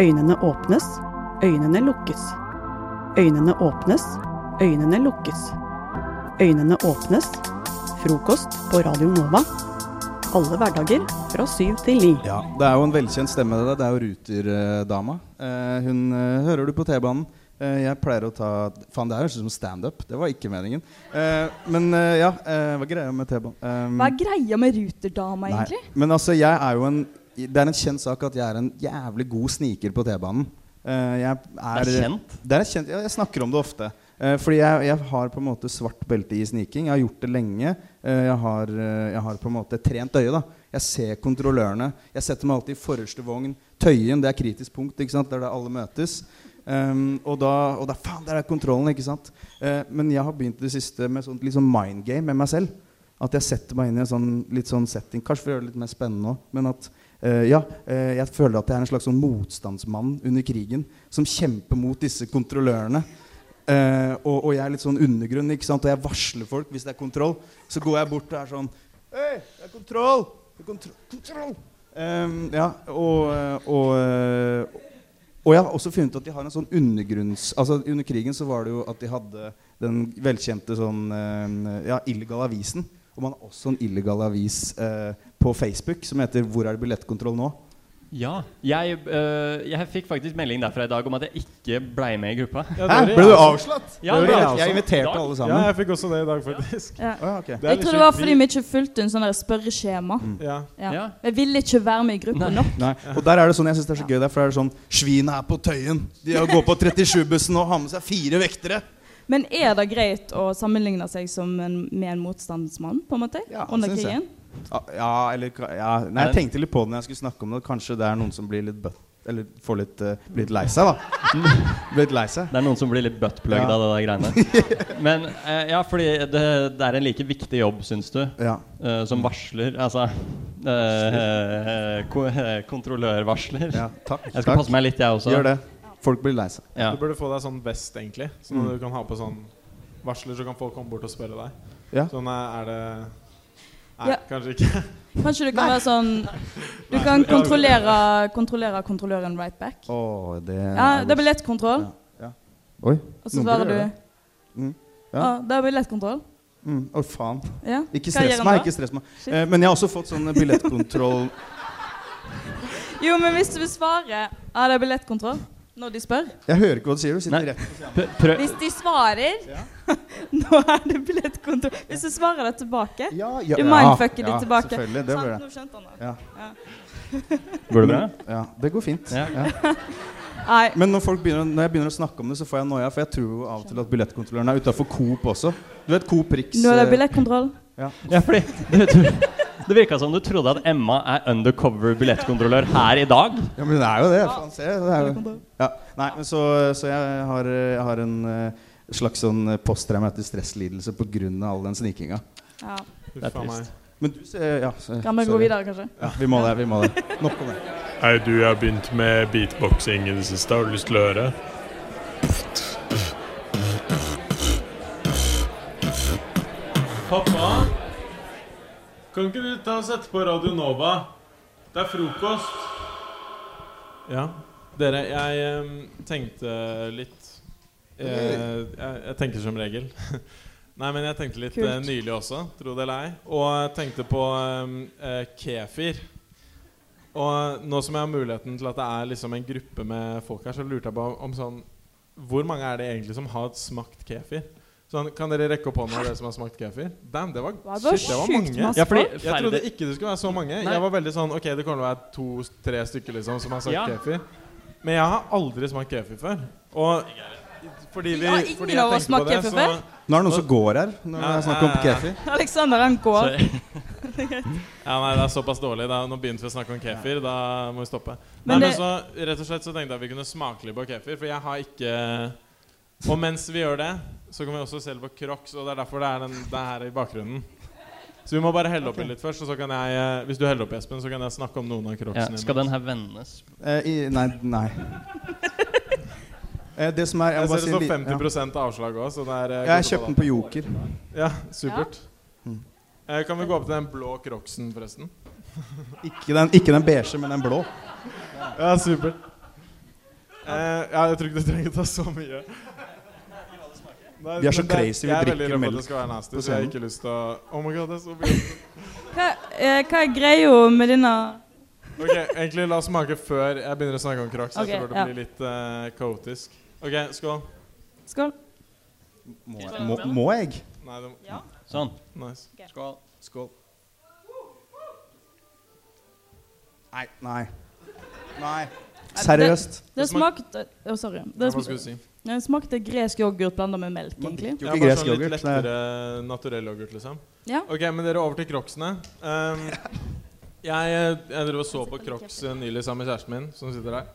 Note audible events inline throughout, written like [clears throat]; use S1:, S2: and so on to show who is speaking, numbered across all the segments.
S1: Øynene åpnes, øynene lukkes. Øynene åpnes, øynene lukkes. Øynene åpnes. Frokost på Radio Nova. Alle hverdager fra syv til ni.
S2: Ja, Det er jo en velkjent stemme. Det, der. det er jo Ruter-dama. Eh, hun eh, hører du på T-banen. Eh, jeg pleier å ta Faen, det høres ut som standup. Det var ikke meningen. Eh, men eh, ja, eh, hva er greia med T-banen? Eh,
S3: Hva er greia med Ruterdama,
S2: nei.
S3: egentlig?
S2: Men altså, jeg er jo en Det er en kjent sak at jeg er en jævlig god sniker på T-banen. Eh, jeg er,
S4: Det er kjent?
S2: Det er kjent. Jeg, jeg snakker om det ofte. Eh, fordi jeg, jeg har på en måte svart belte i sniking. Jeg har gjort det lenge. Eh, jeg, har, eh, jeg har på en måte et trent øye. da Jeg ser kontrollørene. Jeg setter meg alltid i forreste vogn. Tøyen, det er kritisk punkt. ikke sant? Det er der alle møtes. Ehm, og da og da, faen, der er kontrollen, ikke sant? Eh, men jeg har begynt i det siste med sånt litt sånn mind game med meg selv. At jeg setter meg inn i en sånn, litt sånn setting. Kanskje for å gjøre det litt mer spennende òg. Men at Eh, ja, eh, jeg føler at jeg er en slags sånn motstandsmann under krigen som kjemper mot disse kontrollørene. Eh, og, og jeg er litt sånn undergrunn, ikke sant? og jeg varsler folk hvis det er kontroll. Så går jeg bort og er sånn Hei, det er kontroll! Det er kontroll! kontroll! Eh, ja, og, eh, og, eh, og jeg har også funnet at de har en sånn undergrunns... Altså Under krigen så var det jo at de hadde den velkjente sånn eh, Ja, illegale avisen. Og man har også en illegal avis eh, på Facebook som heter 'Hvor er det billettkontroll nå?'
S4: Ja. Jeg, øh, jeg fikk faktisk melding derfra i dag om at jeg ikke blei med i gruppa.
S2: Hæ? Ble du avslått?
S4: Ja,
S2: Det var
S4: det sånn var
S2: jeg, jeg
S4: jeg
S2: inviterte
S4: også.
S2: alle
S5: Ja,
S2: sammen.
S5: jeg fikk også det i dag, faktisk.
S3: Ja.
S2: Å, ja, ok.
S5: er
S3: Jeg
S5: litt
S3: tror det var
S5: sjukt.
S3: fordi vi ikke fulgte en sånn der spørreskjema.
S2: Mm.
S5: Ja.
S3: Ja.
S4: Ja.
S3: Jeg ville ikke være med i gruppa
S4: Nei.
S3: nå.
S2: Nei. Og der er det sånn, jeg synes det er så gøy Derfor er det sånn Svina er på Tøyen. De har- går på 37-bussen og har med seg fire vektere.
S3: Men er det greit å sammenligne seg som en, med en motstandsmann, på en måte?
S2: Ja,
S3: under
S2: synes jeg.
S3: krigen?
S2: Ja, Ja, eller ka- ja. Nei, jeg tenkte litt på det når jeg skulle snakke om det. Kanskje det er noen som blir litt bøtt Eller får litt, eh, blir litt lei seg, da. [laughs] Blir litt lei seg.
S4: Det er noen som blir litt buttplugged
S2: Ja.
S4: av det der greiene.
S2: [laughs]
S4: Men eh, ja, fordi det, det er en like viktig jobb, syns du,
S2: Ja.
S4: eh, som varsler. Altså eh, ko eh, kontrollørvarsler.
S2: ja takk.
S4: Jeg skal
S2: takk.
S4: passe meg litt, jeg også.
S2: Gjør det. Folk blir lei seg.
S4: Ja.
S5: Du burde få deg sånn vest, egentlig. Sånn
S2: Mm.
S5: at du kan ha på sånn varsler, så kan folk komme bort og spørre deg.
S2: Ja.
S5: Sånn eh, er det Nei,
S3: Ja.
S5: kanskje ikke.
S3: Kanskje du kan være sånn Du kan kontrollere, kontrollere kontrolløren right back.
S2: Å, det
S3: Ja, det er billettkontroll.
S2: Oi.
S3: Og så
S2: Noen burde
S3: svarer du
S2: gjøre det. Mm, ja.
S3: Ja, det er billettkontroll.
S2: Mm. Å, faen.
S3: Ja.
S2: Ikke
S3: Hva gjør
S2: stress
S3: han
S2: meg.
S3: da?
S2: ikke stress meg
S3: Shit.
S2: eh, Men jeg har også fått sånn billettkontroll
S3: Jo, men hvis du svarer Ja, det er billettkontroll når de spør.
S2: Jeg hører ikke hva du sier. Du sitter
S4: Nei.
S2: rett
S4: P- Prøv.
S3: Hvis de svarer [laughs] Nå er det billettkontroll. Hvis du svarer det tilbake
S2: ja, ja,
S3: Du mindfucker
S2: ja,
S3: de tilbake.
S2: Selvfølgelig. Det, blir
S3: Sant,
S2: det.
S3: nå skjønte han det.
S4: Går det bra?
S2: Ja, det går fint.
S4: Ja.
S2: Ja.
S3: Nei.
S2: Men når, folk begynner, når jeg begynner å snakke om det, så får jeg noia. For jeg tror jo av og til at billettkontrolløren er utafor Coop også. Du vet Coop Rix
S3: Nå er det
S2: eh, [laughs]
S3: billettkontroll.
S4: Ja, fordi du, du, Det virka som du trodde at Emma er undercover billettkontrollør her i dag.
S2: Ja, men det er jo det. Faen, se, det er jo. Ja. Nei, men så, så jeg, har, jeg har en eh, slags sånn eh, posttraumatisk stresslidelse pga. all den snikinga.
S3: Ja.
S5: Huff
S4: Det er
S5: a meg.
S4: trist.
S2: Men du ser Ja, så-
S3: Kan vi gå
S2: sorry.
S3: videre, kanskje?
S2: Ja, vi må det. vi må det Nok om det.
S6: Hei, du, jeg har begynt med beatboxing i det siste. Har du lyst til å høre?
S5: Pappa, kan ikke du ta og sette på Radio Nova? Det er frokost. Ja, dere, jeg eh, tenkte litt eh, jeg, jeg tenker som regel. [laughs] Nei, men jeg tenkte litt
S3: Kult.
S5: eh, nylig også, tro det eller ei. Og jeg tenkte på eh, eh, kefir. Og nå som jeg har muligheten til at det er liksom en gruppe med folk her, så lurte jeg på om sånn Hvor mange er det egentlig som har smakt kefir? Sånn, kan dere rekke opp hånda, dere som har smakt kefir? Damn, det var,
S3: Det var
S5: shit, det var
S3: sjukt
S5: mange.
S3: masse.
S4: Ja, fordi
S5: Jeg
S4: ferdig-
S5: trodde ikke det skulle være så mange.
S4: Nei.
S5: Jeg var veldig sånn Ok, det kommer til å være to-tre stykker liksom som har sagt
S4: Ja.
S5: kefir. Men jeg har aldri smakt kefir før. Og fordi vi
S3: Ja, ingen
S5: fordi jeg
S3: av oss
S5: tenkte på
S3: smaker
S5: det,
S3: kefir
S5: så-
S3: før.
S2: Nå er det noen som går her. Når
S5: Ja,
S2: jeg snakker om
S5: ja, ja.
S2: kefir.
S3: Alexander, han går.
S4: Sorry.
S5: Ja, nei, det er såpass dårlig. Da. Nå begynte vi å snakke om kefir. Da må vi stoppe.
S3: Men
S5: Men, nei,
S3: det-
S5: men så, rett og slett så tenkte jeg at vi kunne smake litt på kefir, for jeg har ikke Og mens vi gjør det, så kan vi også selge på Crocs, og det er derfor det er, den, det er her i bakgrunnen. Så vi må bare helle oppi litt først, og så kan jeg eh, Hvis du heller opp, Espen, så kan jeg snakke om noen av
S4: Ja,
S5: Crocsene.
S4: skal den her vendes?
S2: Eh, i, nei. nei.
S5: [laughs]
S2: Eh, det som er
S5: Jeg
S2: må
S5: ser det
S2: bare si
S5: står
S2: en liten-
S5: 50 avslag òg, så det er eh,
S2: ja. Jeg
S5: godt å
S2: kjøpte den Mm. på Joker.
S5: ta. Ja, supert. Eh, Kan vi gå opp til den blå Crocsen, forresten?
S2: Ikke den, ikke den beige, men den blå.
S5: Ja, supert. Eh, ja, jeg tror ikke du trenger å ta så mye. Nei,
S2: Vi er så
S5: men det-
S2: crazy, vi
S5: jeg er
S2: drikker
S5: veldig redd for at
S2: melk
S5: Det skal være nasty,
S2: på
S5: så jeg har ikke lyst til å Oh my god, det er så mye.
S3: Hva, eh, hva er greia med denne
S5: Ok, egentlig la oss smake før jeg begynner å snakke om Crocs.
S3: Ok,
S5: jeg tror det
S3: ja.
S5: blir litt eh, kaotisk. Ok, skål.
S3: Skål.
S2: Må, jeg- må, må jeg?
S5: Nei, det var
S4: Sånn.
S5: nice.
S2: Skål. Skål. Nei. Nei. Nei. Seriøst.
S3: Det
S5: Det smak-
S3: smakte Å, sorry. Det
S5: Det hva skulle du si?
S3: sm- det smakte gresk yoghurt blanda med melk,
S2: Man
S3: egentlig.
S2: drikker jo
S5: Ja,
S2: ikke
S5: bare
S2: gresk
S5: sånn litt
S2: yoghurt. det er-
S5: lettere naturell yoghurt, liksom.
S3: Ja.
S5: Ok, men dere over til Crocsene. Um, jeg, jeg drev og så på Crocs eh, nylig sammen med kjæresten min, som sitter der.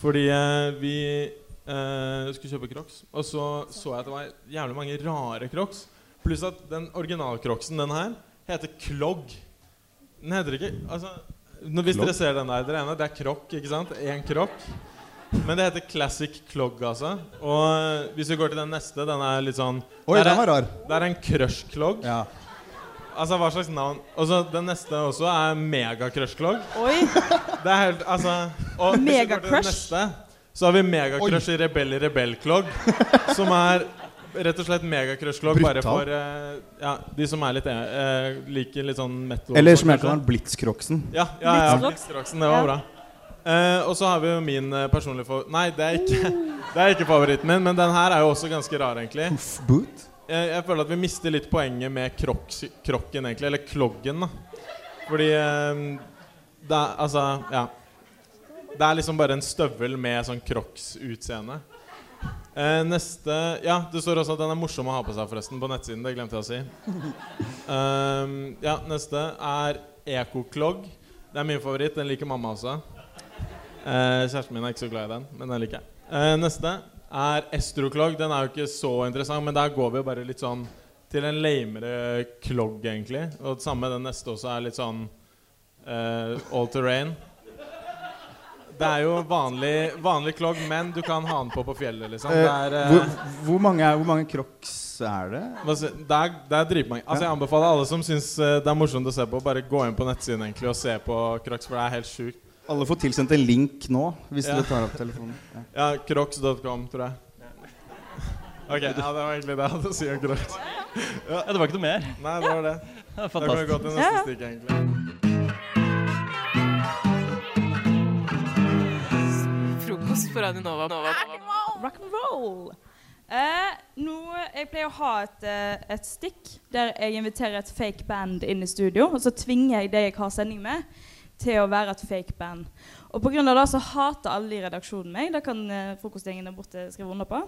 S5: Fordi eh, vi eh, skulle kjøpe Crocs, og så så jeg at det var jævlig mange rare Crocs. Pluss at den original-Crocsen, den her, heter Klogg. Den heter ikke Altså, nå- hvis dere ser den der, dere ene, det er krokk, ikke sant? Én krokk. Men det heter Classic Klogg, altså. Og eh, hvis vi går til den neste, den er litt sånn
S2: Oi,
S5: Der
S2: den
S5: er-
S2: var rar.
S5: Det er en Crush-klogg.
S2: Ja.
S5: Altså, hva slags navn? Og så den neste også er megacrush-klogg.
S3: Oi!
S5: Det er helt, altså Og hvis vi går til den
S3: Megacrush?
S5: neste, så har vi megacrush i Rebell i Rebell-klogg. Som er rett og slett megacrush-klogg bare
S2: Brutal.
S5: for eh, ja, de som er litt eh, liker litt sånn metal.
S2: Eller som
S5: sånn,
S2: jeg kaller
S5: kanskje.
S2: den, Blitzkroksen.
S5: Ja, ja, ja, ja.
S3: Blitzrocks.
S5: Blitzrocksen, det var
S3: Ja.
S5: bra. Eh, og så har vi jo min eh, personlige favoritt Nei, det er, ikke, [laughs] det er ikke favoritten min, men den her er jo også ganske rar, egentlig.
S2: Puff boot.
S5: jeg, jeg føler at vi mister litt poenget med kroks, krokken, egentlig. Eller kloggen, da. Fordi eh, det er, Altså, ja. Det er liksom bare en støvel med sånn crocs-utseende. Eh, neste Ja, det står også at den er morsom å ha på seg, forresten. På nettsiden. Det glemte jeg å si. Eh, ja, neste er ekoklogg. Det er min favoritt. Den liker mamma også. Eh, kjæresten min er ikke så glad i den, men den liker jeg. Eh, neste er estroklogg. Den er jo ikke så interessant, men der går vi jo bare litt sånn til en lamere klogg, egentlig. Og det samme den neste også er litt sånn eh, all terrain. Det er jo vanlig, vanlig klogg, men du kan ha den på på fjellet, liksom. Det er,
S2: Eh,
S5: eh,
S2: hvor, hvor, mange er, hvor mange crocs er det?
S5: hva si- det er, det er dritmange. Altså, jeg anbefaler alle som syns eh, det er morsomt å se på, bare gå inn på nettsiden egentlig og se på Crocs, for det er helt sjukt.
S2: Alle får tilsendt en link nå, hvis
S5: Ja.
S2: dere tar opp telefonen. Ja.
S5: Ja, crocs.com, tror jeg. [laughs] Ok, ja, det var egentlig det jeg hadde å si om crocs.
S4: Ja, det var ikke noe mer.
S5: Nei, det var det.
S4: Det er
S5: Da kan vi
S4: Fantastisk.
S5: gå til neste
S3: Ja.
S5: stikk, egentlig.
S7: Frokost på Radio Nova.
S3: Rock and roll. Eh, nå, jeg pleier å ha et, eh, et stikk der jeg inviterer et fake band inn i studio, og så tvinger jeg det jeg har sending med, til å være et fake band. Og pga. det så hater alle i redaksjonen meg. Det kan eh, frokostgjengen der borte skrive under på.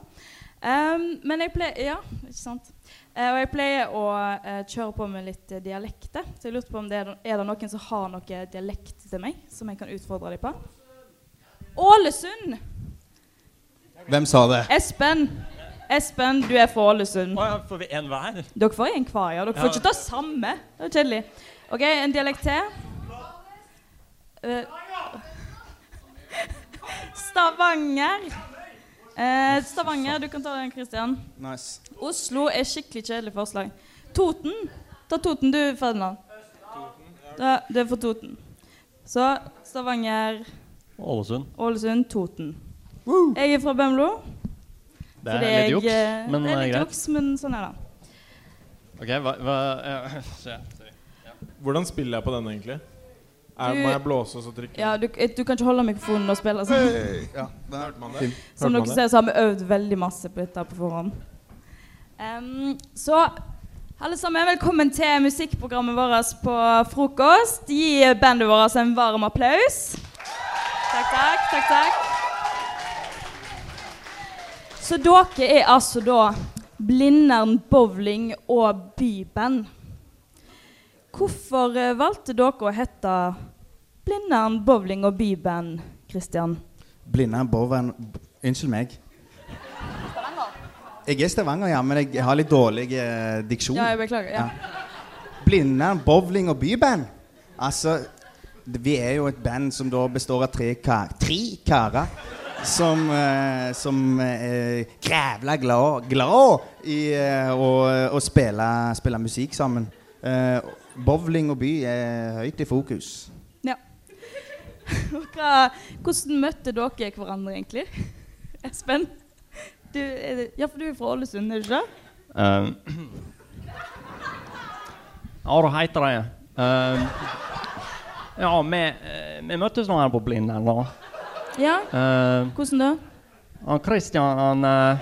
S3: Ehm, men jeg pleier Ja, ikke sant. Eh, og jeg pleier å eh, kjøre på med litt eh, dialekter, så jeg lurte på om det er, no- er det noen som har noe dialekt til meg, som jeg kan utfordre dem på. Ålesund!
S2: Hvem sa det?
S3: Espen, Espen, du er fra Ålesund.
S4: Å ja, får vi en hver?
S3: Dere får en hver, ja. Dere får ikke ta samme. Det er kjedelig. OK, en dialekt til. Eh, Stavanger. Eh, Stavanger, du kan ta den, Christian.
S2: Nice.
S3: Oslo er skikkelig kjedelig forslag. Toten. Ta Toten, du, Ferdinand. Ja, du er fra Toten. Så Stavanger,
S4: Ålesund.
S3: Ålesund, Toten. Jeg er fra Bømlo.
S4: Det er
S3: Fordi
S4: litt
S3: jeg,
S4: juks,
S3: eh,
S4: men
S3: det er
S4: eh,
S3: litt
S4: greit.
S3: juks, men sånn er det.
S4: Ok, hva, hva ja, se.
S5: Hvordan spiller jeg på denne, egentlig? Er,
S3: Du-
S5: må jeg blåse og så trykke?
S3: Ja, du, eh, du kan ikke holde mikrofonen og spille. Sånn.
S2: Ja, det er
S5: Hørte man det?
S3: Som dere
S5: Hørte man det?
S3: ser, så har vi øvd veldig masse på dette på forhånd. Em, så alle sammen, velkommen til musikkprogrammet vårt på frokost. Gi bandet vårt en varm applaus. Takk, takk, takk, takk. Så dere er altså da Blindern bowling og byband. Hvorfor eh, valgte dere å hete Blindern bowling og byband, Christian?
S2: Blinde Boven Unnskyld meg. Jeg er Stavanger, ja, men jeg har litt dårlig eh, diksjon.
S3: Ja, jeg beklager. Ja.
S2: Blinde bowling og byband. Altså, d- vi er jo et band som da består av tre, kar tre karer. Som, eh, som eh, er grævla glad, glad i eh, å, å spille, spille musikk sammen. Eh, bowling og by er høyt i fokus.
S3: [laughs] Ja. Og Hva, hvordan møtte dere hverandre, egentlig? [laughs] Espen? Du, er det, ja, for du er fra Ålesund, er du ikke det?
S4: Um, [clears throat] ja, hva heter det? Um, ja, vi, eh, vi møttes nå her på Blindern, da.
S3: Ja.
S4: Um,
S3: Hvordan da?
S4: han Christian, han, eh,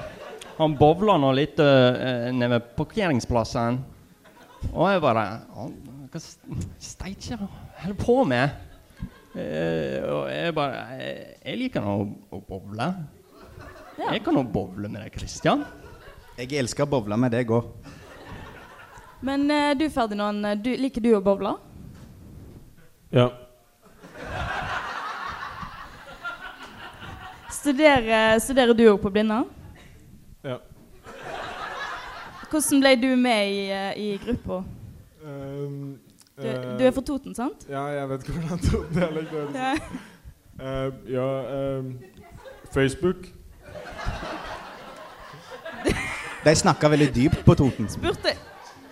S4: han bowla nå litt eh, nede ved parkeringsplassen. Og jeg bare han- Hva s- steikje holder på med? Eh, og jeg bare eh, Jeg liker nå å, å bowle.
S3: Ja.
S4: Jeg kan nå bowle med deg, Christian.
S2: Jeg elsker bowla med deg òg.
S3: Men eh, du Ferdinand, eh, du, liker du å bowle?
S5: Ja.
S3: Studerer, studerer du òg på Blindern?
S5: ja.
S3: Hvordan ble du med i, eh, i gruppa?
S5: Ehm,
S3: Du,
S5: eh,
S3: du er fra Toten, sant?
S5: Ja, jeg vet ikke hvordan todialekt det er.
S3: Ja.
S5: Ehm, ja ehm, Facebook.
S2: De snakka veldig dypt på Toten.
S3: Spurte,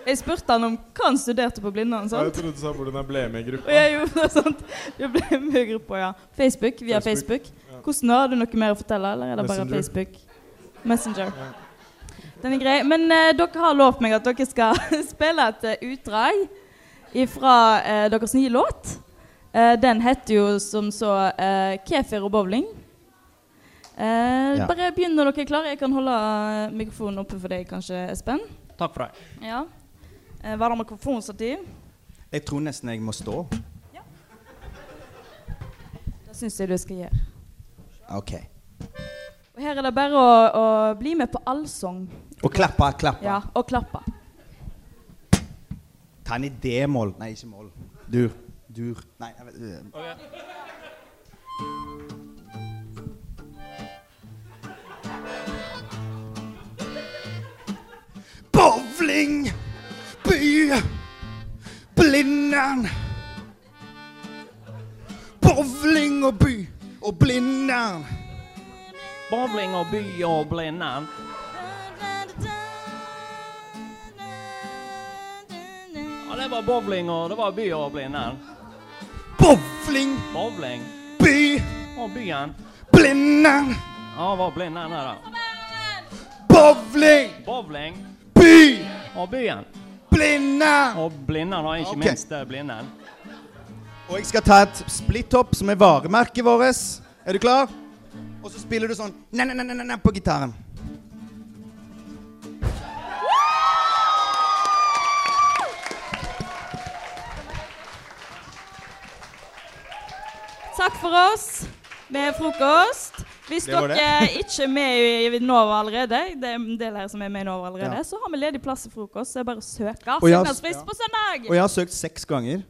S3: jeg spurte han om hva han studerte på Blindern,
S5: Ja, Jeg
S3: sant?
S5: trodde du sa hvordan jeg ble med i
S3: Og
S5: gruppa.
S3: jeg gjorde det, sant? Jeg ble med i gruppa, ja. Facebook, via
S5: Facebook,
S3: Facebook.
S5: ja.
S3: Hvordan da? Har du noe mer å fortelle, eller er det bare
S5: Messenger.
S3: Facebook? Messenger.
S5: Ja.
S3: Den er grei. Men eh, dere har lovt meg at dere skal [laughs] spille et eh, utdrag fra deres nye låt. Eh, den heter jo som så eh, Kefir og bowling. Eh,
S2: Ja.
S3: Bare begynn når dere er klare. Jeg kan holde eh, mikrofonen oppe for deg, kanskje, Espen.
S4: Takk for det.
S3: Ja. Eh, var det mikrofonstativ?
S2: Jeg tror nesten jeg må stå.
S3: Det syns jeg du skal gjøre.
S2: Ok.
S3: Og her er det bare å, å bli med på allsang.
S2: Og klappe, klappe.
S3: Ja, og klappe.
S2: Ta den i d-mål. Nei, ikke mål. Dur. Dur. Nei, jeg vet øh. Bowling, by, Blindern. Bowling og by og Blindern.
S4: Bowling og by og Blindern. Ja, det var bowling og det var by og Blindern.
S2: Bowling,
S4: Bowling
S2: by,
S4: og byen.
S2: Blindern.
S4: Ja, det var Blindern her, da.
S2: Bowling,
S4: Bowling
S2: by,
S4: og byen.
S2: Blindern.
S4: Og Blindern, og ikke
S2: Ok.
S4: minst eh, Blindern.
S2: Og jeg skal ta et splitthopp som er varemerket vårt. Er du klar? Og så spiller du sånn na-na-na-na på gitaren.
S3: Takk for oss med frokost. Hvis
S2: Det var
S3: dere ikke er med i Vinova allerede, det er en del her som er med i Nova allerede,
S2: Ja.
S3: så har vi ledig plass til frokost. Så det er bare å søke.
S2: Og jeg har-
S3: Søknadsfrist på søndag!
S2: Og jeg har søkt seks ganger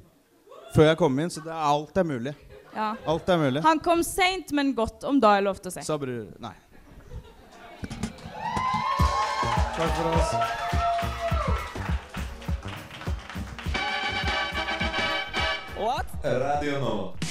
S2: før jeg kom inn, så det er alt er mulig.
S3: Ja.
S2: Alt er mulig.
S3: Han kom seint, men godt, om det er lov til å si.
S2: Sa bru... Nei.
S5: Takk for oss.
S8: Radio Nova.